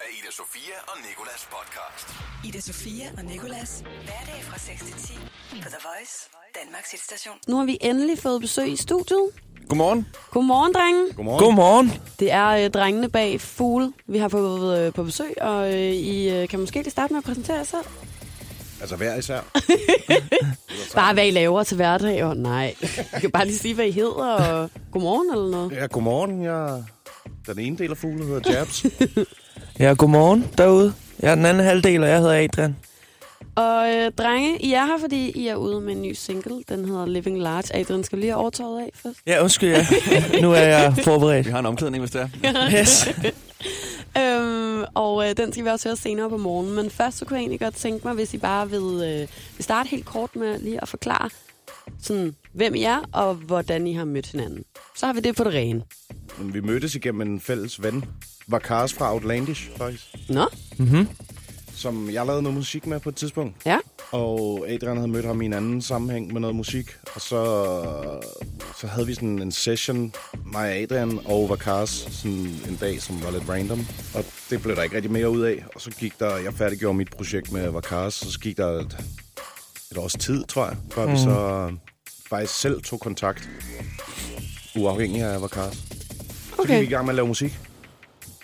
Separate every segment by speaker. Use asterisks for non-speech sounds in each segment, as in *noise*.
Speaker 1: af Ida Sofia og Nikolas podcast.
Speaker 2: Ida Sofia og Nikolas. Hverdag fra 6 til 10 på The Voice, Danmarks hitstation.
Speaker 3: Nu har vi endelig fået besøg i studiet.
Speaker 4: Godmorgen.
Speaker 3: Godmorgen, drenge.
Speaker 4: Godmorgen. Godmorgen.
Speaker 3: Det er øh, drengene bag Fugle, vi har fået øh, på besøg, og øh, I øh, kan måske lige starte med at præsentere jer selv.
Speaker 4: Altså hver især.
Speaker 3: Bare hvad I laver til hverdag, og nej. *laughs* I kan bare lige sige, hvad I hedder, og godmorgen eller noget.
Speaker 4: Ja, godmorgen. Jeg den ene del af fugle hedder Jabs.
Speaker 5: Ja, godmorgen derude. Jeg er den anden halvdel, og jeg hedder Adrian.
Speaker 3: Og øh, drenge, I er her, fordi I er ude med en ny single. Den hedder Living Large. Adrian skal lige have overtøjet af først.
Speaker 5: Ja, undskyld, ja. nu er jeg forberedt.
Speaker 6: Vi har en omklædning, hvis det er.
Speaker 5: Yes.
Speaker 3: Øhm, og øh, den skal vi også høre senere på morgenen. Men først så kunne jeg egentlig godt tænke mig, hvis I bare vil, øh, vil starte helt kort med lige at forklare, sådan, hvem I er og hvordan I har mødt hinanden. Så har vi det på det rene.
Speaker 4: Vi mødtes igennem en fælles ven. Var Kars fra Outlandish, faktisk.
Speaker 3: Nå,
Speaker 4: Som jeg lavede noget musik med på et tidspunkt.
Speaker 3: ja.
Speaker 4: Og Adrian havde mødt ham i en anden sammenhæng med noget musik. Og så, så havde vi sådan en session, mig og Adrian og Vakars, sådan en dag, som var lidt random. Og det blev der ikke rigtig mere ud af. Og så gik der, jeg færdiggjorde mit projekt med Vakars, så gik der et, et års tid, tror jeg, før mm. vi så faktisk selv tog kontakt. Uafhængig af Vakars. Så gik vi i
Speaker 3: Okay.
Speaker 4: gang med at lave musik.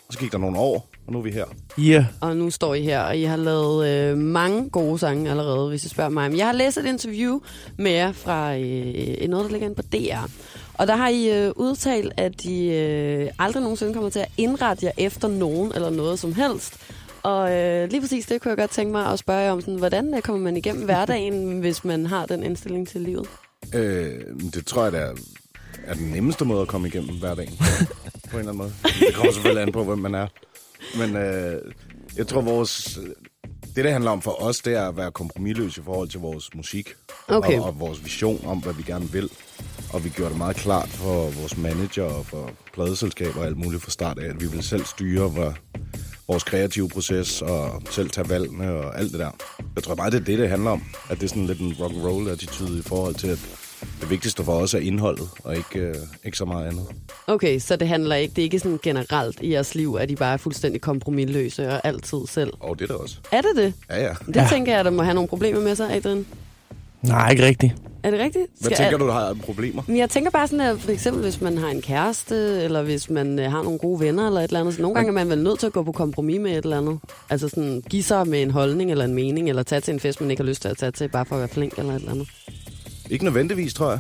Speaker 4: Og så gik der nogle år, og nu er vi her.
Speaker 5: Yeah.
Speaker 3: Og nu står I her, og I har lavet øh, mange gode sange allerede, hvis I spørger mig. Men jeg har læst et interview med jer fra øh, noget, der ligger inde på DR. Og der har I øh, udtalt, at I øh, aldrig nogensinde kommer til at indrette jer efter nogen eller noget som helst. Og øh, lige præcis det kunne jeg godt tænke mig at spørge jer om, sådan, hvordan øh, kommer man igennem hverdagen, *laughs* hvis man har den indstilling til livet?
Speaker 4: Øh, det tror jeg, der er den nemmeste måde at komme igennem hverdagen. *laughs* på en eller anden måde. Det kommer selvfølgelig an på, hvem man er. Men øh, jeg tror, vores... Det, det handler om for os, det er at være kompromilløse i forhold til vores musik.
Speaker 3: Okay.
Speaker 4: Og, og vores vision om, hvad vi gerne vil. Og vi gjorde det meget klart for vores manager og for pladeselskaber og alt muligt fra start af, at vi vil selv styre hvor, vores kreative proces og selv tage valgene og alt det der. Jeg tror bare, det er det, det handler om. At det er sådan lidt en rock'n'roll-attitude i forhold til, at det vigtigste for os er indholdet, og ikke, øh, ikke så meget andet.
Speaker 3: Okay, så det handler ikke, det er ikke sådan generelt i jeres liv, at I bare er fuldstændig kompromilløse og altid selv.
Speaker 4: Og det er der også.
Speaker 3: Er det det?
Speaker 4: Ja, ja.
Speaker 3: Det ja. tænker jeg, der må have nogle problemer med sig, Adrian.
Speaker 5: Nej, ikke rigtigt.
Speaker 3: Er det rigtigt?
Speaker 4: Hvad
Speaker 3: Skal-
Speaker 4: tænker du, der har problemer?
Speaker 3: Men jeg tænker bare sådan, at for eksempel hvis man har en kæreste, eller hvis man øh, har nogle gode venner, eller et eller andet, så nogle gange er man vel nødt til at gå på kompromis med et eller andet. Altså sådan give sig med en holdning, eller en mening, eller tage til en fest, man ikke har lyst til at tage til, bare for at være flink, eller et eller andet.
Speaker 4: Ikke nødvendigvis, tror jeg.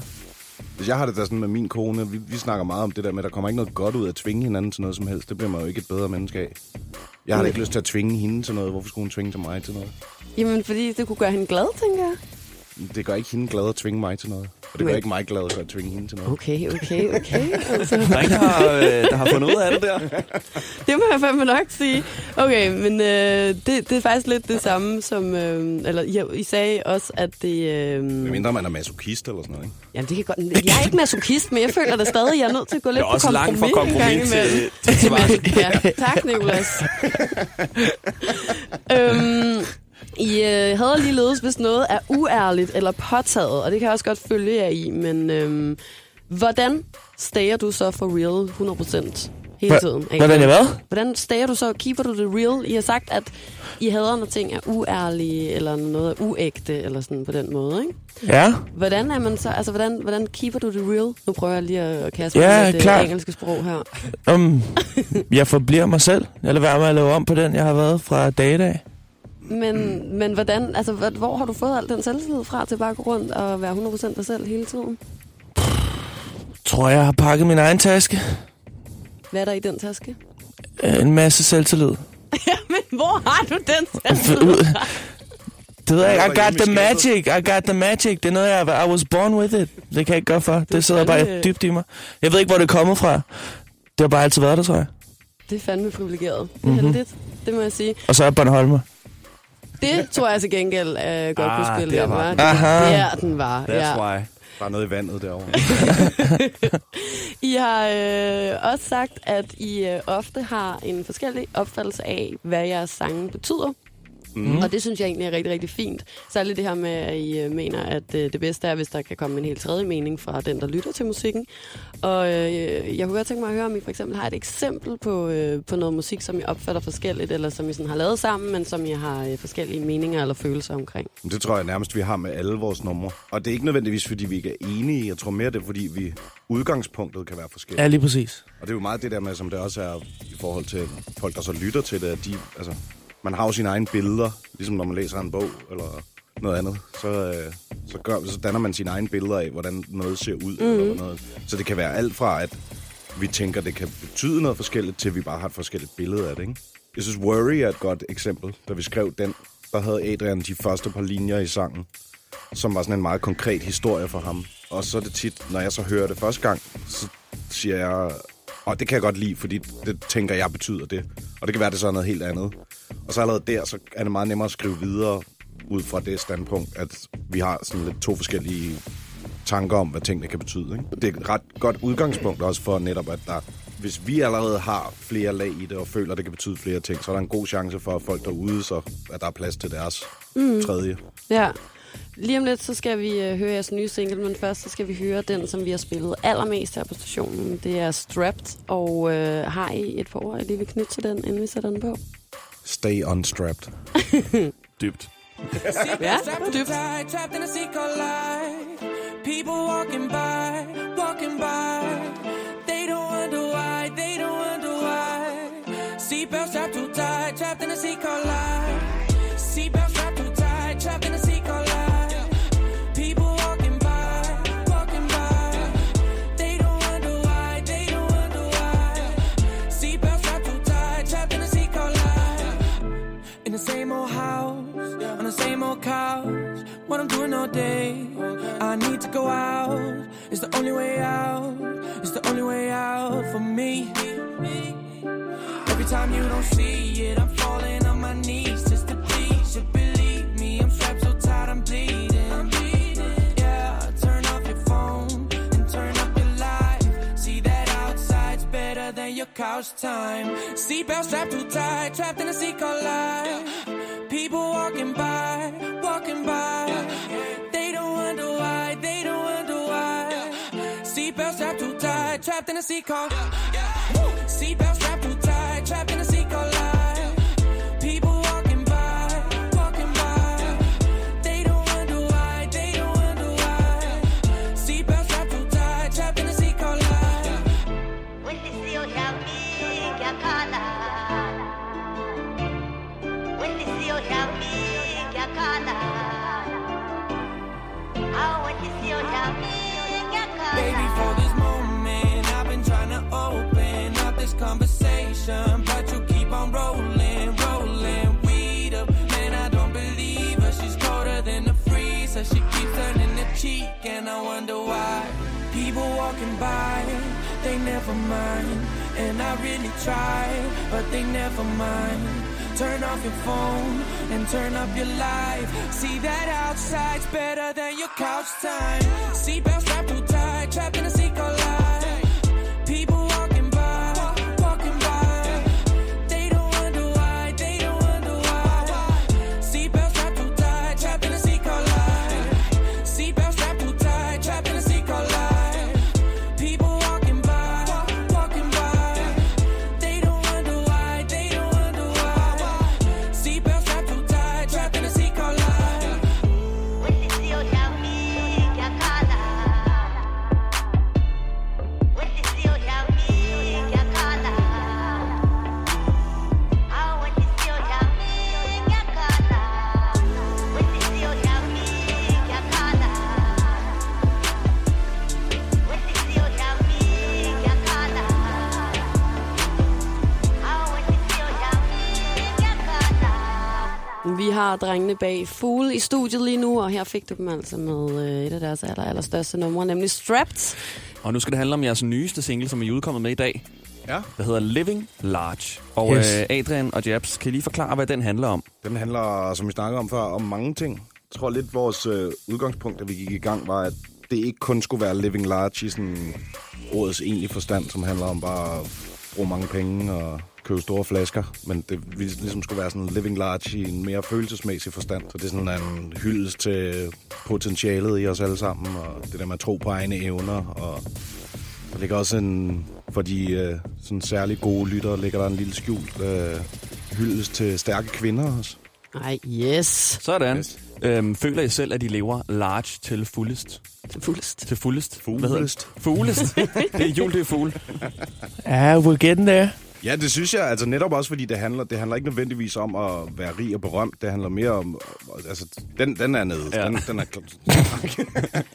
Speaker 4: Hvis jeg har det der sådan med min kone, vi, vi snakker meget om det der med, at der kommer ikke noget godt ud af at tvinge hinanden til noget som helst. Det bliver man jo ikke et bedre menneske af. Jeg har da ikke lyst til at tvinge hende til noget. Hvorfor skulle hun tvinge til mig til noget?
Speaker 3: Jamen, fordi det kunne gøre hende glad, tænker jeg.
Speaker 4: Det gør ikke hende glad at tvinge mig til noget. Og det gør
Speaker 3: Men-
Speaker 4: ikke mig glad at tvinge hende til noget.
Speaker 3: Okay, okay, okay. *laughs* altså.
Speaker 6: Der er ingen, der har, øh, der har fundet ud af det der.
Speaker 3: Det må jeg fandme nok sige. Okay, men øh, det, det er faktisk lidt det samme som... Øh, eller I, I sagde også, at det... Øh,
Speaker 4: Med mindre man er masochist eller sådan noget, ikke?
Speaker 3: jamen, det kan godt... Jeg er ikke masochist, men jeg føler da stadig, at jeg er nødt til at gå
Speaker 6: Det
Speaker 3: lidt
Speaker 6: er også
Speaker 3: på
Speaker 6: langt fra
Speaker 3: kompromis en gang
Speaker 6: kompromis til,
Speaker 3: imellem.
Speaker 6: til svaret.
Speaker 3: *laughs* ja, tak, Nicolas. øhm, I øh, havde ligeledes, hvis noget er uærligt eller påtaget, og det kan jeg også godt følge jer i, men øhm, hvordan stager du så for real 100% hele
Speaker 5: Hva-
Speaker 3: tiden? Adrian?
Speaker 5: Hvordan jeg hvad?
Speaker 3: Hvordan stager du så? Keeper du det real? I har sagt, at I hader, når ting er uærlige, eller noget er uægte, eller sådan på den måde, ikke?
Speaker 5: Ja,
Speaker 3: Hvordan er man så, altså hvordan, hvordan keeper du det real? Nu prøver jeg lige at kaste mig
Speaker 5: Ja,
Speaker 3: med det
Speaker 5: klart.
Speaker 3: engelske sprog her.
Speaker 5: um, jeg forbliver mig selv. Jeg lader være med at lave om på den, jeg har været fra dag i dag.
Speaker 3: Men, mm. men hvordan, altså, hvor, hvor har du fået al den selvtillid fra til bare at gå rundt og være 100% dig selv hele tiden?
Speaker 5: Tror, jeg har pakket min egen taske.
Speaker 3: Hvad er der i den taske?
Speaker 5: Øh, En masse selvtillid.
Speaker 3: *laughs* men hvor har du den
Speaker 5: F- ud. Det ved jeg ikke. I got the
Speaker 4: Hjemme i
Speaker 5: magic. I got the magic. Det er noget, jeg I was born with it. Det kan jeg ikke gøre for. Det sidder bare
Speaker 3: fandme-
Speaker 5: dybt i mig. Jeg ved ikke, hvor det kommer fra. Det har bare altid været der, tror jeg.
Speaker 3: Det er fandme privilegeret. Det er
Speaker 5: Mhm.
Speaker 3: mm-hmm. heldigt, det må jeg sige.
Speaker 5: Og så er Bornholmer.
Speaker 3: Det tror jeg til gengæld øh, godt ah,
Speaker 6: Ah,
Speaker 3: kunne spille
Speaker 6: der
Speaker 3: ind,
Speaker 6: var
Speaker 3: hva'?
Speaker 6: den.
Speaker 5: Aha.
Speaker 3: Det er den var.
Speaker 6: That's why.
Speaker 4: Der er noget i vandet derovre.
Speaker 3: I har øh, også sagt, at I øh, ofte har en forskellig opfattelse af, hvad jeres sange betyder. Mm. Og det synes jeg egentlig er rigtig, rigtig fint. Særligt det her med, at I øh, mener, at øh, det bedste er, hvis der kan komme en helt tredje mening fra den, der lytter til musikken. Og øh, jeg kunne godt tænke mig at høre, om I for eksempel har et eksempel på, øh, på noget musik, som I opfatter forskelligt, eller som I sådan har lavet sammen, men som I har øh, forskellige meninger eller følelser omkring.
Speaker 4: Men Det tror jeg nærmest, vi har med alle vores numre. Og det er ikke nødvendigvis, fordi vi ikke er enige. Jeg tror mere, det er, fordi vi udgangspunktet kan være forskelligt.
Speaker 5: Ja, lige præcis.
Speaker 4: Og det er jo meget det der med, som det også er i forhold til folk, der så lytter til det, at de, altså, man har jo sine egne billeder, ligesom når man læser en bog eller noget andet. Så, øh, så, gør, så danner man sine egne billeder af, hvordan noget ser ud. Mm. Eller noget. Så det kan være alt fra, at vi tænker, det kan betyde noget forskelligt, til vi bare har et forskelligt billede af det. Ikke? Jeg synes, Worry er et godt eksempel. Da vi skrev den, der havde Adrian de første par linjer i sangen som var sådan en meget konkret historie for ham. Og så er det tit, når jeg så hører det første gang, så siger jeg, og det kan jeg godt lide, fordi det tænker jeg betyder det. Og det kan være, det så er noget helt andet. Og så allerede der, så er det meget nemmere at skrive videre ud fra det standpunkt, at vi har sådan lidt to forskellige tanker om, hvad tingene kan betyde. Ikke? Det er et ret godt udgangspunkt også for netop, at der, hvis vi allerede har flere lag i det, og føler, at det kan betyde flere ting, så er der en god chance for, at folk derude, så at der er plads til deres mm. tredje.
Speaker 3: Ja. Lige om lidt, så skal vi øh, høre jeres nye single, men først så skal vi høre den, som vi har spillet allermest her på stationen. Det er Strapped, og øh, har I et par ord, I lige vil knytte til den, inden vi sætter den på?
Speaker 4: Stay unstrapped.
Speaker 6: Dybt.
Speaker 3: Ja,
Speaker 7: Trapped and tied, trapped in a sea called life. People walking by, walking by. They don't wonder why, they don't wonder why. Seatbelt strapped too tight, trapped in a sea called life. Seatbelt strapped too tight, trapped in a sea called life. People walking by, walking by. They don't wonder why, they don't wonder why. Seatbelt strapped too tight, trapped in a sea called life. In the same old house, on the same old couch. What I'm doing all day, I need to go out. It's the only way out, it's the only way out for me. Every time you don't see it, I'm falling on my knees just to please you. Believe me, I'm strapped so tight, I'm bleeding. I'm bleeding. Yeah, turn off your phone and turn up your light. See that outside's better than your couch time. Seatbelt strapped too tight, trapped in a seat called life. People walking by, walking by. They don't wonder why, they don't wonder why. Seatbelt strapped too tight, trapped in a seat called. Woo! Seatbelt strapped too tight, trapped in a seat called life. People walking by, walking by. They don't wonder why, they don't wonder why. Seatbelt strapped too tight, trapped in a seat called life.
Speaker 8: Usisio yamika kana Usisio yamika kana Au usisio yamika
Speaker 7: Baby,
Speaker 8: kana
Speaker 7: for this moment, I've been trying to open up this conversation, but you keep on rolling, rolling weed up. Man, I don't believe her. She's colder than the freezer. She keeps turning the cheek, and I wonder why. People walking by, they never mind. And I really try, but they never mind. Turn off your phone and turn up your life. See that outside's better than your couch time. Seatbelt strapped too tight, trapped in a seat called life. People walking by, walking by. They don't wonder why, they don't wonder why. Seatbelt strapped too tight, trapped in a seat called life. Seatbelt strapped too tight, trapped in a seat called life. People walking by, walking by. They don't wonder why, they don't wonder why. Seatbelt strapped too tight, trapped in a seat called life.
Speaker 8: Usisio yamika kana Usisio yamika kana Au usisio yamika kana Usisio yamika kana Usisio yamika kana Au usisio yamika kana
Speaker 3: vi har drengene bag Fugle i studiet lige nu, og her fik du dem altså med øh, et af deres aller, allerstørste numre, nemlig Strapped.
Speaker 6: Og nu skal det handle om jeres nyeste single, som I er udkommet med i dag.
Speaker 4: Ja.
Speaker 6: Der hedder Living Large. Og
Speaker 5: Yes.
Speaker 6: yes. øh, Adrian og Jabs, kan I lige forklare, hvad den handler om?
Speaker 4: Den handler, som vi snakkede om før, om mange ting. Jeg tror lidt, vores øh, udgangspunkt, da vi gik i gang, var, at det ikke kun skulle være living large i sådan ordets egentlige forstand, som handler om bare at bruge mange penge og købe store flasker, men det ville ligesom skulle være sådan living large i en mere følelsesmæssig forstand. Så det er sådan en hyldest til potentialet i os alle sammen, og det der med at tro på egne evner. Og der ligger også en, for de øh, sådan særlig gode lyttere, ligger der en lille skjult øh, hyldest til stærke kvinder også.
Speaker 3: Nej, yes.
Speaker 6: Sådan.
Speaker 4: Yes.
Speaker 6: Øhm, føler I selv, at I lever large til fuldest?
Speaker 3: Fuldst.
Speaker 6: Til fuldest? Hvad hedder det? Fuglest. det er jul, det er fugle.
Speaker 5: Ja, we're getting there.
Speaker 4: Ja, det synes jeg. Altså netop også, fordi det handler, det handler ikke nødvendigvis om at være rig og berømt. Det handler mere om... Altså, den, den er nede.
Speaker 6: Ja.
Speaker 4: Ja. Den, den er... kl-
Speaker 6: *laughs*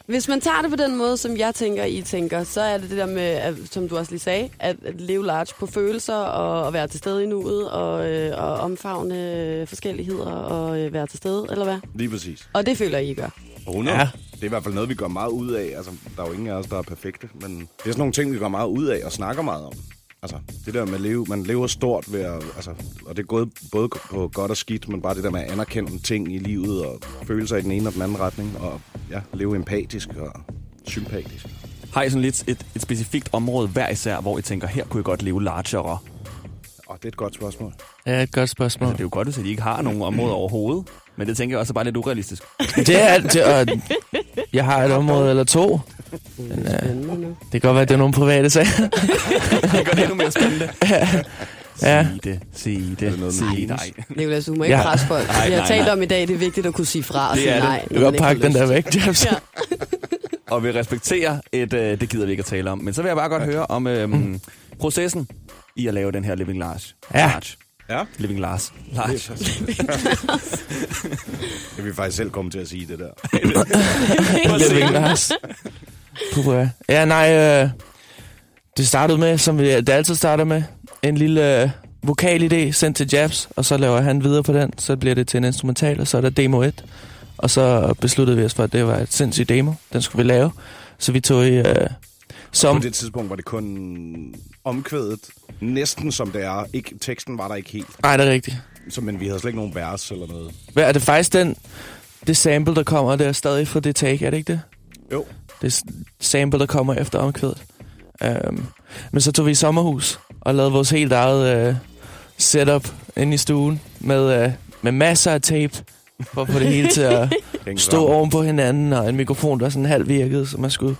Speaker 3: Hvis man tager det på den måde, som jeg tænker, I tænker, så er det det der med, at, som du også lige sagde, at, at leve large på følelser og at være til stede i nuet og, øh, og omfavne øh, forskelligheder og øh, være til stede, eller hvad?
Speaker 4: Lige præcis.
Speaker 3: Og det føler I, I gør.
Speaker 4: 100.
Speaker 5: Ja.
Speaker 4: Ja. Det er i hvert fald noget, vi gør meget ud af. Altså, der er jo ingen af os, der er perfekte, men det er sådan nogle ting, vi gør meget ud af og snakker meget om. Altså, det der med at leve, man lever stort ved at, altså, og det er gået både på godt og skidt, men bare det der med at anerkende ting i livet og føle sig i den ene og den anden retning, og ja, leve empatisk og sympatisk.
Speaker 6: Har I sådan lidt et, et specifikt område hver især, hvor I tænker, her kunne I godt leve largere?
Speaker 4: Og det er et godt spørgsmål.
Speaker 5: Ja, et godt
Speaker 6: Altså,
Speaker 5: spørgsmål.
Speaker 6: det er jo godt, hvis I ikke har nogen områder overhovedet. Men det tænker jeg også er bare lidt urealistisk.
Speaker 5: Det er alt. Det, og jeg har et område eller to. øh,
Speaker 3: Spændende.
Speaker 5: Det kan godt være, at det er nogle private
Speaker 6: *laughs*
Speaker 5: sager.
Speaker 6: *laughs* Det gør det endnu mere *laughs* spændende.
Speaker 5: Ja.
Speaker 6: Sig det, sig
Speaker 4: Er det
Speaker 6: det,
Speaker 4: noget
Speaker 6: sig
Speaker 4: med penis?
Speaker 6: det. Nej.
Speaker 3: Nicolas, du må ikke
Speaker 5: Ja.
Speaker 3: presse folk. Vi har
Speaker 6: nej,
Speaker 3: talt
Speaker 6: nej.
Speaker 3: om i dag, det er vigtigt at kunne sige fra og
Speaker 6: Det
Speaker 3: sige
Speaker 6: er det.
Speaker 3: nej.
Speaker 5: Du
Speaker 3: når
Speaker 5: kan
Speaker 3: man
Speaker 5: godt
Speaker 3: ikke
Speaker 5: pakke
Speaker 3: har
Speaker 5: den der
Speaker 3: lyst.
Speaker 5: væk, Jeps.
Speaker 3: Ja.
Speaker 6: Og vi respekterer et, øh, det gider vi ikke at tale om. Men så vil jeg bare godt høre om øhm, processen i at lave den her Living Large.
Speaker 5: Ja.
Speaker 6: Large.
Speaker 4: Ja.
Speaker 6: Living Large. Large.
Speaker 4: Jeg vil faktisk selv komme til at sige det der.
Speaker 5: Living Lars. Puha. Ja, nej. Øh, det startede med, som vi, det altid starter med, en lille øh, vokalidé sendt til Jabs, og så laver han videre på den. Så bliver det til en instrumental, og så er der demo 1. Og så besluttede vi os for, at det var et sindssygt demo, den skulle vi lave. Så vi tog i... Øh,
Speaker 4: På
Speaker 5: som,
Speaker 4: det tidspunkt var det kun omkvædet, næsten som det er. Ikke, teksten var der ikke helt,
Speaker 5: nej, det er rigtigt.
Speaker 4: så, men vi havde slet ikke nogen vers eller noget.
Speaker 5: Hvad er det faktisk den, det sample, der kommer, det er stadig fra det take, er det ikke det?
Speaker 4: Jo.
Speaker 5: Det s- sample, der kommer efter omkvædet. Um, men så tog vi i sommerhus og lavede vores helt eget uh, setup inde i stuen med, uh, med masser af tape for at få det hele til
Speaker 4: *laughs*
Speaker 5: at
Speaker 4: Hænge
Speaker 5: stå
Speaker 4: sammen.
Speaker 5: oven på hinanden, og en mikrofon, der sådan halv virkede, så man skulle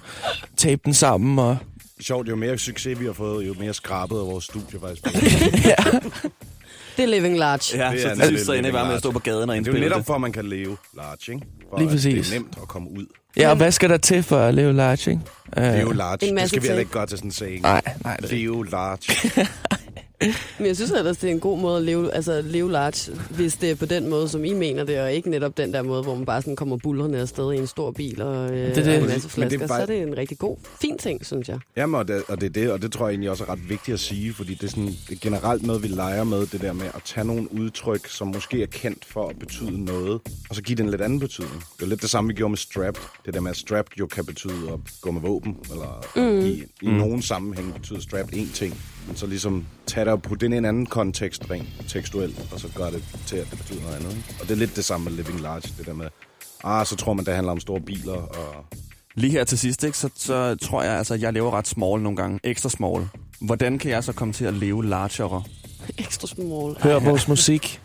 Speaker 5: tape den sammen.
Speaker 4: *laughs*
Speaker 5: Og
Speaker 4: Sjovt, jo mere succes vi har fået, jo mere skrabet af vores studie
Speaker 5: *laughs*
Speaker 4: faktisk.
Speaker 3: Det er living large.
Speaker 6: Ja,
Speaker 4: Det
Speaker 6: så
Speaker 4: er
Speaker 6: til
Speaker 4: lidt
Speaker 6: sidst så ender I bare med
Speaker 4: large.
Speaker 6: at stå på gaden og
Speaker 4: Men det er jo
Speaker 6: indspille
Speaker 4: netop
Speaker 6: det.
Speaker 4: for, at man kan leve large, ikke? For
Speaker 5: Lige
Speaker 4: at
Speaker 5: præcis.
Speaker 4: Det er nemt at komme ud.
Speaker 5: ja, og hvad skal der til for at leve large, ikke? Uh,
Speaker 4: Leve large.
Speaker 3: En
Speaker 4: Det
Speaker 3: masse
Speaker 4: skal vi
Speaker 3: ting.
Speaker 4: heller ikke gøre til sådan en saying.
Speaker 5: Nej, nej. Det,
Speaker 4: Leve large.
Speaker 3: Men jeg synes ellers, det er en god måde at leve, altså, at leve large, hvis det er på den måde, som I mener det, og ikke netop den der måde, hvor man bare sådan kommer bullerne afsted i en stor bil og, øh,
Speaker 5: er det.
Speaker 3: og en
Speaker 5: Men
Speaker 4: det
Speaker 3: masse
Speaker 4: er
Speaker 3: flasker,
Speaker 4: bare-
Speaker 3: så er det en rigtig god, fin ting, synes jeg.
Speaker 4: Jamen, og det, og det er det, og det tror jeg egentlig også er ret vigtigt at sige, fordi det er, sådan, det er generelt noget, vi leger med, det der med at tage nogle udtryk, som måske er kendt for at betyde noget, og så give det en lidt anden betydning. Det er lidt det samme, vi gjorde med strapped. Det der med, at strapped jo kan betyde at gå med våben, eller mm. i, i mm. nogen sammenhæng betyder strapped én ting, men så ligesom tage det og putte det ind i en anden kontekst rent tekstuelt, og så gør det til, at det betyder noget andet. ikke? Og det er lidt det samme med living large, det der med, ah, så tror man, det handler om store biler, og
Speaker 6: *laughs* Lige her til sidst, ikke, så, så tror jeg, altså, at jeg lever ret small nogle gange. Ekstra small. Hvordan kan jeg så komme til at leve largere?
Speaker 3: Ekstra small.
Speaker 5: Hør vores
Speaker 4: *laughs*
Speaker 5: musik.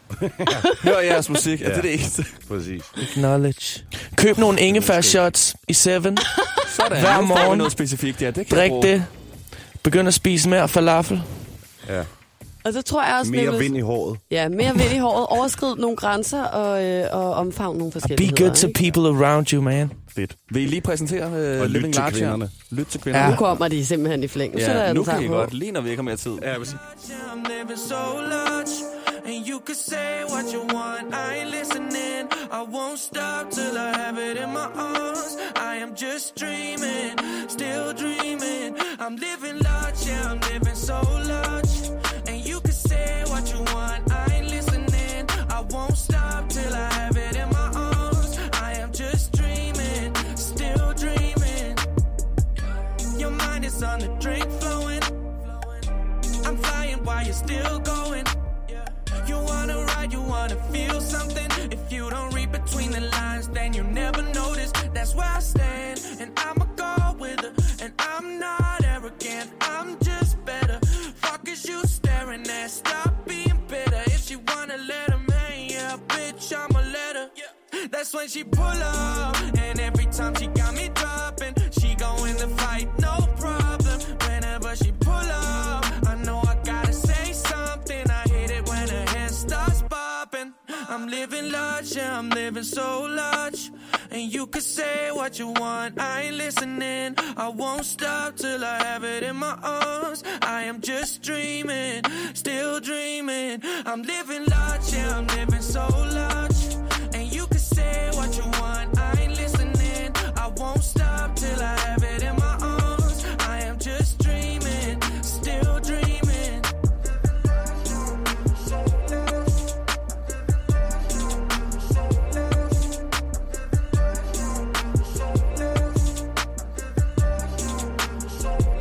Speaker 6: Hør jeres musik. Ja. Det er det eneste.
Speaker 4: præcis.
Speaker 5: Knowledge. Køb nogle ingefær shots i
Speaker 3: *laughs*
Speaker 5: Seven. Hver
Speaker 6: Sådan. Nu får vi
Speaker 5: morgen.
Speaker 6: Noget specifikt. Ja, det kan jeg
Speaker 5: Drik
Speaker 6: bruge.
Speaker 5: det. Begynd at spise mere falafel.
Speaker 4: Ja.
Speaker 3: Og så tror jeg også,
Speaker 4: Mere
Speaker 3: Nicolas-
Speaker 4: vind i håret.
Speaker 3: Ja, mere vind i håret, overskrid nogle grænser og, øh, og omfavn nogle
Speaker 5: Be
Speaker 3: forskelligheder.
Speaker 5: good to
Speaker 3: ikke?
Speaker 5: people around you, man.
Speaker 6: Fedt. Vil I lige præsentere uh,
Speaker 4: Og lyt
Speaker 6: Living
Speaker 4: til
Speaker 6: Large? her?
Speaker 4: kvinderne.
Speaker 6: Lyt til kvinderne.
Speaker 3: Nu kommer de simpelthen i flæng. Nu ja, sætter jeg
Speaker 6: nu
Speaker 3: den
Speaker 6: kan I
Speaker 3: sammen
Speaker 6: godt. Lige når vi ikke har mere tid. Ja, hvis...
Speaker 7: Yeah, I'm living so large, and you can say what you want. I ain't listening. I won't stop till I have it in my arms. I am just dreaming, still dreaming. I'm living large, yeah, I'm living so large, and you can say what you want. I ain't listening. I won't stop till I have it in my arms. I am just dreaming, still dreaming. Your mind is on the drink flowing. I'm flying while you're still going. You wanna ride, you wanna feel something. If you don't read between the lines, then you never notice. That's where I stand, and I'ma go with her. And I'm not arrogant, I'm just better. Fuck is you staring at? Stop when she pull up, and every time she got me dropping, she go in the fight, no problem. Whenever she pull up, I know I gotta say something. I hate it when her head starts popping. I'm living large, yeah, I'm living so large. And you can say what you want, I ain't listening. I won't stop till I have it in my arms. I am just dreaming, still dreaming. I'm living large, yeah, I'm living so large. And you can say what you want, I ain't listening. I won't stop till I have it in my arms. I am just dreaming, still dreaming.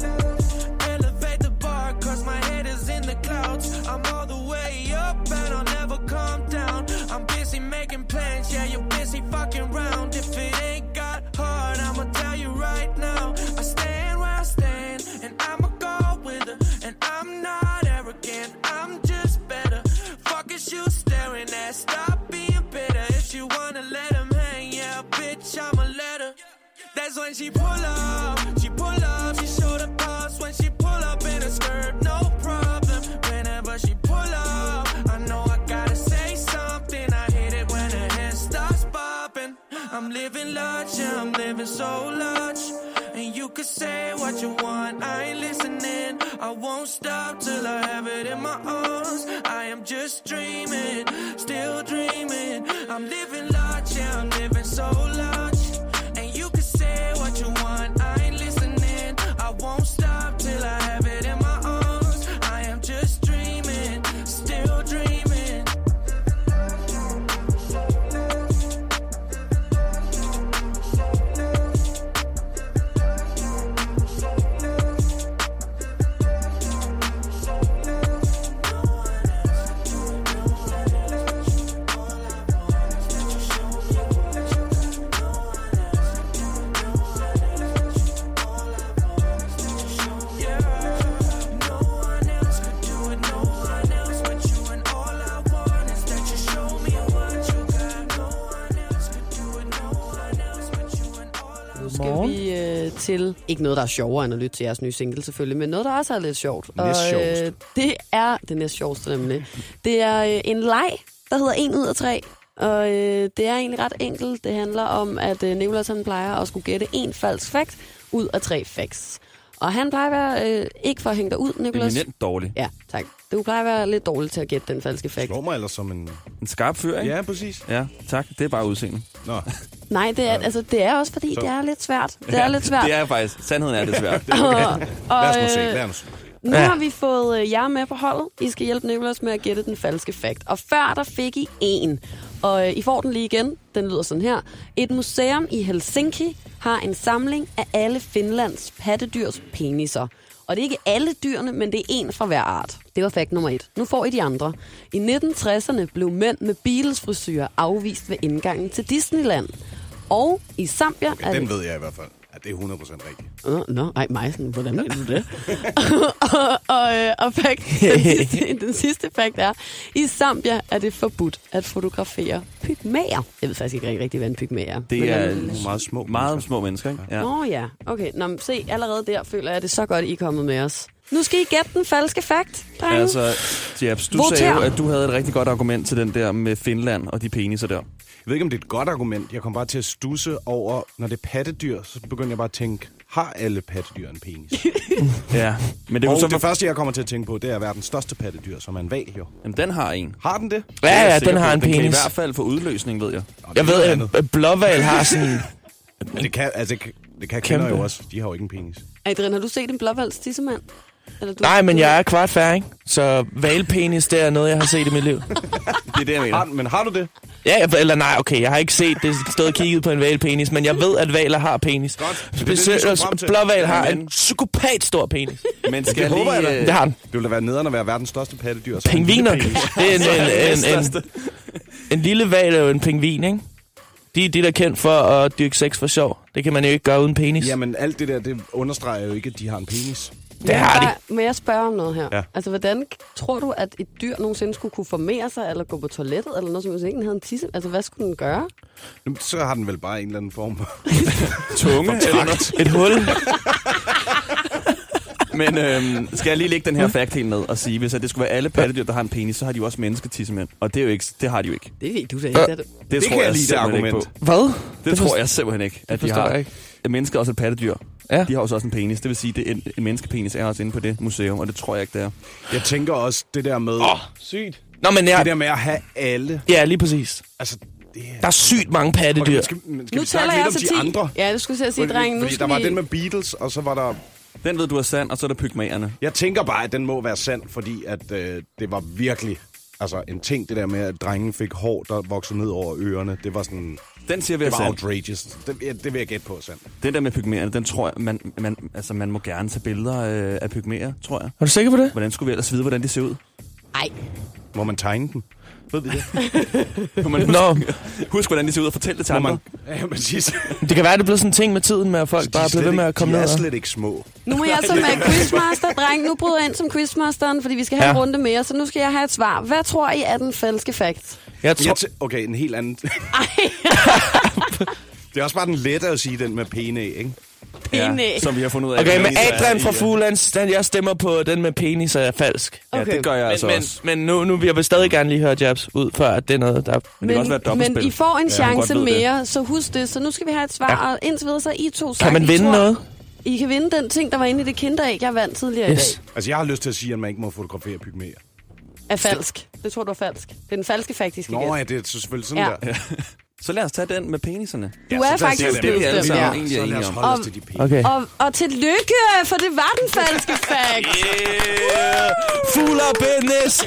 Speaker 7: Elevate the bar, cause my head is in the clouds. I'm all the way up and I'll never come down. I'm busy making plans, yeah, you're busy fucking round. If it ain't got hard, I'ma tell you right now. I stand where I stand, and I'ma go with her. And I'm not arrogant, I'm just better. Fuck is you staring at? Stop being bitter. If you wanna let him hang, yeah, bitch, I'ma let her. That's when she pull up, she pull up, she show the boss when she pull up in a skirt, no problem. Whenever she pull up, I know I gotta say something. I hate it when her head starts popping. I'm living large, yeah, I'm living so large. And you can say what you want, I ain't listening. I won't stop till I have it in my arms. I am just dreaming, still dreaming. I'm living large, yeah, I'm living so large. And you can say what you want, I ain't listening. I won't stop till I have it in my arms. I am just dreaming, still dreaming.
Speaker 3: Skal vi øh, til, ikke noget, der er sjovere end at lytte til jeres nye single selvfølgelig, men noget, der også er lidt sjovt. øh,
Speaker 4: Næstsjovest.
Speaker 3: det er det næst sjoveste nemlig. Det er øh, en leg, der hedder 1 ud af 3. Og øh, det er egentlig ret enkelt. Det handler om, at øh, Nicolas han plejer at skulle gætte en falsk fakt ud af tre facts. Og han plejer at være, øh, ikke for at hænge dig ud, Nicolas.
Speaker 6: Eminent dårlig.
Speaker 3: Ja, tak. Du plejer at være lidt dårlig til at gætte den falske fakt.
Speaker 4: Slår mig ellers som en...
Speaker 6: En skarp fyr, ikke?
Speaker 4: Ja, præcis.
Speaker 6: Ja, tak. Det er bare udseende.
Speaker 4: Nå,
Speaker 3: Nej, det er, altså, det er også fordi, det er lidt svært.
Speaker 6: *laughs*
Speaker 3: Det er lidt svært.
Speaker 6: Det er faktisk. Sandheden er det
Speaker 3: *laughs*
Speaker 6: svært.
Speaker 3: Og,
Speaker 4: lad os nu se.
Speaker 3: øh,
Speaker 4: Lad os nu se.
Speaker 3: Nu ja. har vi fået øh, jer med på holdet. I skal hjælpe Nicolas med at gætte den falske fakt. Og før der fik I en. Og øh, I får den lige igen. Den lyder sådan her. Et museum i Helsinki har en samling af alle Finlands pattedyrs peniser. Og det er ikke alle dyrene, men det er en fra hver art. Det var fakt nummer et. Nu får I de andre. I 1960'erne blev mænd med Beatles-frisyrer afvist ved indgangen til Disneyland. Og i Zambia... er det-
Speaker 4: Den ved jeg i hvert fald. Ja, det er 100% rigtigt.
Speaker 3: Nå, Øh, nå, ej, Majsen, hvordan ved du
Speaker 5: *laughs*
Speaker 3: det? *laughs* og, og, øh, og fact, den, sidste,
Speaker 5: *laughs*
Speaker 3: den sidste fakt er, i Zambia er det forbudt at fotografere pygmæer. Jeg ved faktisk ikke rigtig, rigtig, hvad en pygmæ er. Men,
Speaker 6: Det er
Speaker 3: øhm,
Speaker 6: nogle
Speaker 4: Meget små
Speaker 6: meget små mennesker, ikke? Ja.
Speaker 3: Nå ja, okay. Nå, men se, allerede der føler jeg det er så godt, I er kommet med os. Nu skal I gætte den falske fakt, drenge.
Speaker 6: Altså, Jabs, du
Speaker 3: Voter.
Speaker 6: sagde jo, at du havde et rigtig godt argument til den der med Finland og de peniser der.
Speaker 4: Jeg ved ikke, om det er et godt argument. Jeg kom bare til at stusse over, når det er pattedyr, så begynder jeg bare at tænke, har alle pattedyr en penis?
Speaker 6: Ja, men det er jo
Speaker 4: Og
Speaker 6: så...
Speaker 4: det første, jeg kommer til at tænke på, det er verdens største pattedyr, som er en val, jo.
Speaker 6: Jamen, den har en.
Speaker 4: Har den det?
Speaker 6: Det er
Speaker 5: Ja,
Speaker 6: jeg
Speaker 5: ja,
Speaker 6: sikker
Speaker 5: den har
Speaker 6: på.
Speaker 5: en
Speaker 6: Den kan i
Speaker 5: penis.
Speaker 6: hvert fald få udløsning, ved jeg.
Speaker 4: Nå, det er
Speaker 5: Jeg ved,
Speaker 4: noget
Speaker 5: at
Speaker 4: andet.
Speaker 5: en blåval har sådan...
Speaker 4: Men det kan, altså, det kan- det kan kvinder
Speaker 5: Kæmpe.
Speaker 4: jo også. De har jo ikke en penis.
Speaker 3: Adrian, har du set en blåvalds tissemand? Eller du,
Speaker 5: Nej, men jeg er kvart færdig, så valpenis, det er noget, jeg har set i mit liv.
Speaker 6: Det er det, jeg mener.
Speaker 4: Har, men har du det?
Speaker 5: Ja, jeg- eller nej, okay, jeg har ikke set det stået og kigget på en valpenis, men jeg ved, at valer har penis.
Speaker 4: Godt. Det er det, vi skulle
Speaker 5: Specielt
Speaker 4: frem til.
Speaker 5: blåval har
Speaker 6: Jamen.
Speaker 5: en psykopat stor penis.
Speaker 6: Men skal
Speaker 4: Det håber jeg da.
Speaker 6: lige... øh,
Speaker 5: Det har den.
Speaker 4: Det ville da være nederen at være verdens største pattedyr. og så en lille
Speaker 5: Pingviner.
Speaker 4: penis.
Speaker 5: Det er en, en, en, en, en, en lille val er jo en pingvin, ikke? De, de der er kendt for at dyrke sex for sjov. Det kan man jo ikke gøre uden penis.
Speaker 4: Jamen, alt det der, det understreger jo ikke, at de har en penis.
Speaker 5: Det har de.
Speaker 3: Må jeg spørge om noget her?
Speaker 9: Ja.
Speaker 3: Altså, hvordan tror du, at et dyr nogensinde skulle kunne formere sig, eller gå på toilettet, eller noget, som hvis ikke den havde en tisse? Altså, hvad skulle den gøre?
Speaker 4: Jamen, Så har den vel bare en eller anden form for...
Speaker 6: tunge.
Speaker 5: Et hul.
Speaker 6: Men øhm, skal jeg lige lægge den her fact helt ned og sige, hvis at det skulle være alle pattedyr, der har en penis, så har de jo også mennesketissemænd. Og det, er jo ikke, det har de jo ikke.
Speaker 3: Det ved du da ikke. Det
Speaker 6: Det, det
Speaker 4: kan
Speaker 6: tror
Speaker 4: jeg
Speaker 6: jeg,
Speaker 4: lide, det
Speaker 6: simpelthen ikke på.
Speaker 4: argument.
Speaker 5: Hvad?
Speaker 6: Det, det tror jeg simpelthen ikke, at de
Speaker 5: forstår
Speaker 6: har.
Speaker 5: jeg ikke.
Speaker 6: Mennesker er også et pattedyr.
Speaker 5: Ja.
Speaker 6: De har også også en penis. Det vil sige, at en, en menneskepenis er også inde på det museum, og det tror jeg ikke, det er.
Speaker 4: Jeg tænker også det der med... Oh, sygt.
Speaker 5: Nå, men
Speaker 4: Det der
Speaker 5: jeg,
Speaker 4: med at have alle...
Speaker 5: ja, lige præcis.
Speaker 4: Altså, det er...
Speaker 5: Der er sygt mange
Speaker 4: Okay,
Speaker 5: pattedyr.
Speaker 4: men skal, men skal vi snakke lidt om de andre?
Speaker 3: Ja, det skulle jeg altså til at sige,
Speaker 4: Fordi,
Speaker 3: drengen. Nu
Speaker 4: fordi der
Speaker 3: skal
Speaker 4: var
Speaker 3: vi...
Speaker 4: den med Beatles, og så var der...
Speaker 6: Den ved du er sand, og så er der pygmæerne.
Speaker 4: Jeg tænker bare, at den må være sand, fordi at øh, det var virkelig... Altså, en ting, det der med, at drengen fik hår, der voksede ned over ørerne, det var sådan...
Speaker 6: Den siger vi er
Speaker 4: Det var
Speaker 6: sand.
Speaker 4: outrageous. Det, ja, det vil jeg gætte på, er sandt.
Speaker 6: Den der med pygmæerne, den tror jeg, man, man, altså, man må gerne tage billeder øh, af pygmæer, tror jeg.
Speaker 5: Er du sikker på det?
Speaker 6: Hvordan skulle vi ellers vide, hvordan de ser ud?
Speaker 3: Ej,
Speaker 4: Må man tegne den? Ved vi det?
Speaker 6: Må man husk,
Speaker 5: Nå,
Speaker 6: husk, hvordan de ser ud og fortælle det til
Speaker 4: Må
Speaker 6: andre.
Speaker 4: man... Ja, præcis. De
Speaker 5: det kan være, at det er blevet sådan en ting med tiden, med at folk bare
Speaker 4: er
Speaker 5: er blevet
Speaker 4: slet
Speaker 5: ved med
Speaker 4: ikke-
Speaker 5: at komme
Speaker 4: de
Speaker 5: ned.
Speaker 4: er
Speaker 5: og-
Speaker 4: slet ikke små.
Speaker 3: nu må jeg som
Speaker 4: *laughs*
Speaker 3: være quizmaster, dreng. Nu bryder jeg ind som quizmasteren, fordi vi skal have ja.
Speaker 5: Ja.
Speaker 3: en runde mere, så nu skal jeg have et svar. Hvad tror I er den falske fakt?
Speaker 5: Jeg tror,
Speaker 4: Jeg tæ- okay, en helt anden... *laughs* det er også bare den lette at sige, den med pene, ikke?
Speaker 3: Pene.
Speaker 6: som vi har fundet ud af.
Speaker 5: okay, men
Speaker 6: Penis er
Speaker 5: Adrian
Speaker 6: i,
Speaker 5: fra
Speaker 6: øh,
Speaker 5: Fuglands, den jeg stemmer på, den med penis er falsk.
Speaker 6: Ja, det gør jeg
Speaker 5: Men,
Speaker 6: altså
Speaker 5: men,
Speaker 6: også.
Speaker 5: men nu, nu jeg vil stadig gerne lige høre Jabs ud, før at det er noget, der...
Speaker 6: Men det kan også være et dobbeltspil.
Speaker 3: men I får en
Speaker 6: Ja, hun godt
Speaker 3: chance
Speaker 6: ved det.
Speaker 3: mere, så husk det. Så nu skal vi have et svar,
Speaker 5: Ja.
Speaker 3: ja. og indtil videre så er I to sagt,
Speaker 5: Kan man
Speaker 3: I
Speaker 5: vinde
Speaker 3: tror,
Speaker 5: noget?
Speaker 3: I kan vinde den ting, der var inde i det kinderæg, jeg vandt tidligere yes. i
Speaker 5: Yes.
Speaker 6: øh,
Speaker 3: dag.
Speaker 4: Altså, jeg har lyst til at sige, at man ikke må fotografere pygmæer.
Speaker 3: Er falsk. Det tror du er falsk. Det er den falske faktisk.
Speaker 4: Nå, ja, det er så selvfølgelig sådan
Speaker 3: Ja.
Speaker 4: der. Ja,
Speaker 6: Så lad os tage den med peniserne.
Speaker 3: Du er
Speaker 4: så lad os-
Speaker 3: faktisk
Speaker 4: det er det, vi
Speaker 3: blevet
Speaker 6: alle
Speaker 3: stemt,
Speaker 6: sammen
Speaker 3: ja.
Speaker 6: er enige
Speaker 4: Så lad os
Speaker 6: om.
Speaker 4: holde os
Speaker 3: Og-
Speaker 4: til de pene.
Speaker 5: Okay.
Speaker 3: Og, og tillykke, for det var den falske fact.
Speaker 5: Yeah. Fugl og business!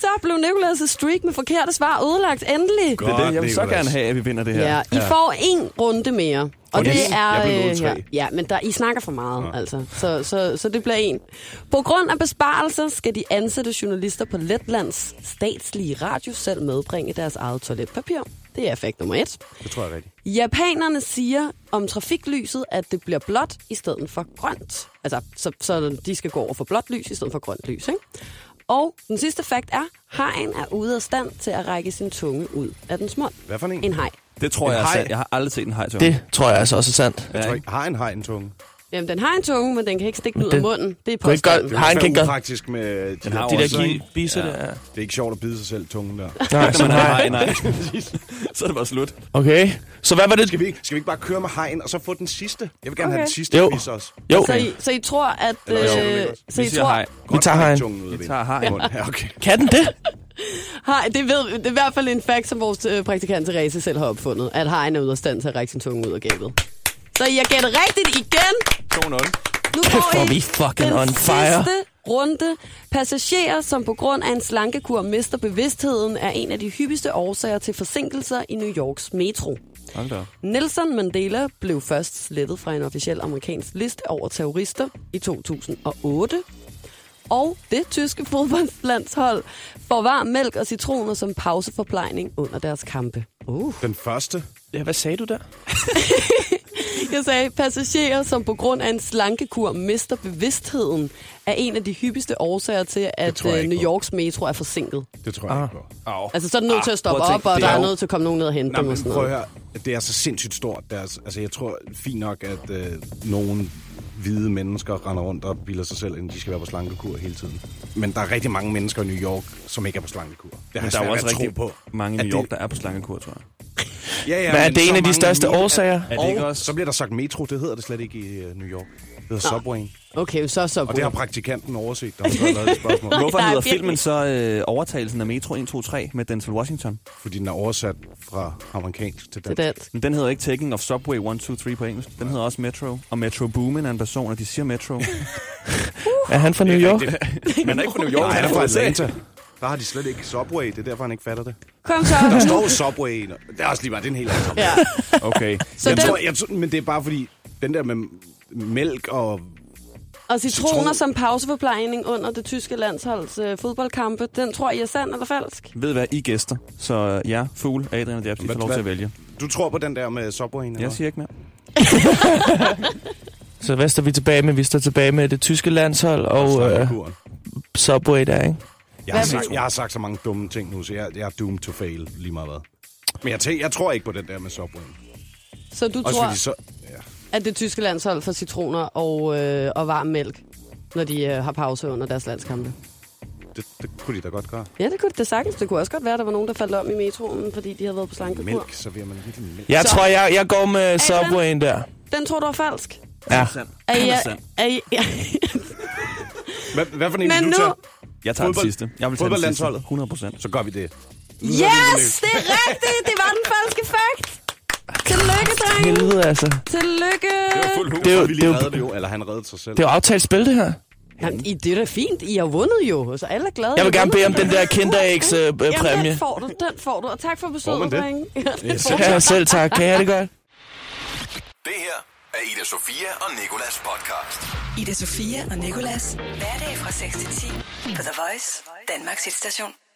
Speaker 3: Så blev Nicolas' streak med forkerte svar ødelagt endelig.
Speaker 6: Det er det, jeg vil så
Speaker 4: Nicolas.
Speaker 6: gerne have, at vi vinder det her.
Speaker 3: Ja, I får en runde mere. Og
Speaker 4: Okay.
Speaker 3: det er...
Speaker 4: Jeg blev nået
Speaker 3: øh,
Speaker 4: tre.
Speaker 3: her. ja, men der, I snakker for meget, ja. altså. Så, så, så det bliver en. På grund af besparelser skal de ansatte journalister på Letlands statslige radio selv medbringe deres eget toiletpapir. Det er fakt nummer et.
Speaker 4: Det tror jeg er rigtigt.
Speaker 3: Japanerne siger om trafiklyset, at det bliver blåt i stedet for grønt. Altså, så, så de skal gå over for blåt lys i stedet for grønt lys, ikke? Og den sidste fakt er, hajen er ude af stand til at række sin tunge ud af dens mund.
Speaker 4: Hvad for en?
Speaker 3: En haj.
Speaker 6: Det tror
Speaker 4: En
Speaker 6: jeg er
Speaker 4: hej.
Speaker 6: sandt. Jeg har aldrig set en hej til
Speaker 5: Det tror jeg altså også er sandt.
Speaker 4: Jeg tror ikke, har en har en tunge.
Speaker 3: Jamen, den har en tunge, men den kan ikke stikke den ud af
Speaker 5: den-
Speaker 3: munden. Det er
Speaker 5: Kunne ikke
Speaker 3: påstanden.
Speaker 5: godt- Har en
Speaker 4: Det er
Speaker 5: kængder.
Speaker 4: faktisk med de,
Speaker 6: har
Speaker 4: der,
Speaker 5: De der
Speaker 4: de der
Speaker 5: gi- biser der. ja.
Speaker 4: Det er ikke sjovt at bide sig selv tungen der.
Speaker 5: Nej, sådan her.
Speaker 6: Nej, nej.
Speaker 5: *laughs*
Speaker 6: Så er det bare slut.
Speaker 5: Okay, så hvad var det?
Speaker 4: Skal vi, ikke- skal vi ikke bare køre med hegen, og så få den sidste? Jeg vil gerne okay. have
Speaker 3: Okay.
Speaker 4: den sidste
Speaker 5: Jo.
Speaker 4: quiz også.
Speaker 5: Jo,
Speaker 3: Så, Altså, I, så I tror, at...
Speaker 4: Eller jo, det er
Speaker 3: Øh,
Speaker 4: godt.
Speaker 3: så I
Speaker 6: Vi siger
Speaker 3: tror...
Speaker 6: hej.
Speaker 5: vi tager
Speaker 4: Hej,
Speaker 5: hajen.
Speaker 4: tungen ud af
Speaker 6: Vi
Speaker 4: vinden.
Speaker 6: tager hej.
Speaker 4: Ja, okay.
Speaker 5: Kan den det?
Speaker 3: Hej, det, ved, det er i hvert fald en fakt, som vores øh, praktikant Therese selv har opfundet, at hajen er ude af stand til at række sin tunge ud af gabet. Så I har gættet rigtigt igen.
Speaker 6: 2-0.
Speaker 3: Nu får
Speaker 5: Hvor
Speaker 3: I
Speaker 5: er vi fucking
Speaker 3: den
Speaker 5: on fire.
Speaker 3: sidste runde. Passagerer, som på grund af en slankekur mister bevidstheden, er en af de hyppigste årsager til forsinkelser i New Yorks metro.
Speaker 6: Hold da.
Speaker 3: Nelson Mandela blev først slettet fra en officiel amerikansk liste over terrorister i 2008. Og det tyske fodboldlandshold får varm mælk og citroner som pauseforplejning under deres kampe. Uh.
Speaker 4: Den første.
Speaker 5: Ja, hvad sagde du der?
Speaker 3: Jeg sagde, passagerer, som på grund af en slankekur mister bevidstheden, er en af de hyppigste årsager til, at
Speaker 4: tror jeg
Speaker 3: øh,
Speaker 4: ikke
Speaker 3: New
Speaker 4: på.
Speaker 3: Yorks metro er forsinket.
Speaker 4: Det tror jeg ikke på.
Speaker 6: Ah.
Speaker 4: Au.
Speaker 3: Altså, så er den nødt til
Speaker 4: Ah,
Speaker 3: at stoppe
Speaker 6: prøv at
Speaker 3: op,
Speaker 6: tænke,
Speaker 3: og
Speaker 6: det
Speaker 3: der
Speaker 6: er
Speaker 3: er
Speaker 6: jo-
Speaker 3: nødt til at komme nogen ned og hente
Speaker 4: Nej,
Speaker 3: dem og
Speaker 4: men
Speaker 3: sådan
Speaker 4: prøv at
Speaker 3: noget.
Speaker 4: høre. Det er så sindssygt stort. Deres, altså, jeg tror fint nok, at øh, nogle hvide mennesker render rundt og bilder sig selv, ind, de skal være på slankekur hele tiden. Men der er rigtig mange mennesker i New York, som ikke er på slankekur. Det har
Speaker 6: Men
Speaker 4: jeg
Speaker 6: der er
Speaker 4: svært
Speaker 6: jo også
Speaker 4: ved at tro
Speaker 6: rigtig
Speaker 4: på.
Speaker 6: mange i
Speaker 4: At
Speaker 6: New York,
Speaker 4: det-
Speaker 6: der er på slangekur, tror jeg.
Speaker 4: Ja, ja,
Speaker 5: Hvad er
Speaker 4: men
Speaker 5: det en
Speaker 4: så
Speaker 5: af de
Speaker 4: mange
Speaker 5: største
Speaker 4: mil-
Speaker 5: årsager?
Speaker 6: Er det
Speaker 4: Og
Speaker 6: ikke også?
Speaker 4: så bliver der sagt metro, det hedder det slet ikke i øh, New York. Det hedder Subway.
Speaker 3: Okay, så så
Speaker 4: Og det har praktikanten overset, der har lavet et
Speaker 5: *laughs*
Speaker 4: spørgsmål.
Speaker 6: Hvorfor
Speaker 3: der er
Speaker 6: hedder
Speaker 3: virkelig-
Speaker 6: filmen så øh, Overtagelsen af Metro 123 med Denzel Washington?
Speaker 4: Fordi den er oversat fra amerikansk til
Speaker 3: Til
Speaker 4: dansk.
Speaker 3: dansk.
Speaker 6: Men den hedder ikke Taking of Subway 123 på engelsk. Den hedder også Metro. Og Metro Boomin er en person, og de siger Metro.
Speaker 5: Er han fra New York?
Speaker 6: Men han er ikke fra New York.
Speaker 4: Nej, han er fra
Speaker 6: fra USA.
Speaker 4: Atlanta. Der har de slet ikke Subway, det er derfor, han ikke fatter det.
Speaker 3: Kom så.
Speaker 4: Der
Speaker 3: *laughs*
Speaker 4: står jo Subway. i- Det er også lige bare, det er en helt anden
Speaker 3: Ja.
Speaker 4: Okay.
Speaker 3: Så
Speaker 4: jeg
Speaker 3: den-
Speaker 4: tror, jeg, tror- men det er bare fordi, den der med mælk og...
Speaker 3: Og citroner
Speaker 4: Citron.
Speaker 3: som pauseforplejning under det tyske landsholds øh, fodboldkampe, den tror I er sand eller falsk?
Speaker 6: Ved hvad, I er gæster. Så øh, ja, Fugl, Adrian og Jabs, I
Speaker 4: Hvad-
Speaker 6: får lov
Speaker 4: hvad-
Speaker 6: til at vælge.
Speaker 4: Du tror på den der med Subway? eller
Speaker 6: Jeg
Speaker 4: hvad?
Speaker 6: siger ikke mere.
Speaker 5: Så hvad står vi tilbage med? Vi står tilbage med det tyske landshold og øh,
Speaker 4: Kuren.
Speaker 5: Subway der, ikke?
Speaker 4: Jeg har,
Speaker 3: Hvad vil
Speaker 4: sagt,
Speaker 3: du?
Speaker 4: jeg har sagt så mange dumme ting nu, så jeg, jeg er doomed to fail lige meget hvad. Men jeg, tæ- jeg tror ikke på den der med Subway.
Speaker 3: Så du
Speaker 4: Også
Speaker 3: tror,
Speaker 4: fordi så... Ja.
Speaker 3: at det tyske landshold får citroner og, øh, og varm mælk, når de øh, har pause under deres landskampe?
Speaker 4: Det, det kunne de da godt gøre.
Speaker 3: Ja, det kunne det sagtens. Det kunne også godt være, at der var nogen, der faldt om i metroen, fordi de havde været på slankekur.
Speaker 4: Mælk, så vil man virkelig mælk.
Speaker 5: Jeg
Speaker 3: Så-
Speaker 5: så. tror, jeg, jeg går med
Speaker 3: Adam?
Speaker 5: Subwayen der.
Speaker 3: Den tror du er falsk.
Speaker 5: Ja.
Speaker 3: Er I,
Speaker 6: er sand.
Speaker 3: er I, ja.
Speaker 4: Hvad, hvad for en
Speaker 3: Men
Speaker 4: vil du
Speaker 3: nu-
Speaker 4: tage?
Speaker 6: Jeg tager
Speaker 4: Fodbold-
Speaker 6: den sidste. Jeg vil tage den sidste.
Speaker 4: fodboldlandsholdet.
Speaker 6: 100 procent.
Speaker 4: Så gør vi det.
Speaker 3: yes, det er rigtigt. Det var den falske fakt. Tillykke, drenge.
Speaker 5: Helvede, altså.
Speaker 3: Tillykke.
Speaker 4: Det
Speaker 5: Det
Speaker 4: er
Speaker 5: er jo-
Speaker 4: jo,
Speaker 5: det
Speaker 4: vi
Speaker 5: er
Speaker 4: lige
Speaker 5: jo-
Speaker 4: reddede det jo, eller han reddede sig selv.
Speaker 5: Det er jo aftalt spil, det her.
Speaker 3: Jamen, I, det er da fint. I har vundet jo, så alle er glade.
Speaker 5: Jeg vil
Speaker 3: I har
Speaker 5: gerne bede om
Speaker 3: vundet.
Speaker 5: den der Kinder Eggs, øh,
Speaker 3: Jamen,
Speaker 5: præmie.
Speaker 3: den får du, den får du. Og tak for
Speaker 4: Får man
Speaker 3: besøget,
Speaker 4: det?
Speaker 3: drenge.
Speaker 4: Yes.
Speaker 5: Ja, selv tak. Kan I have det godt?
Speaker 1: Det her er Ida Sofia og Nikolas podcast.
Speaker 2: Ida Sofia og Nikolas. Hverdag fra 6 til 10 på The Voice, Danmarks hitstation.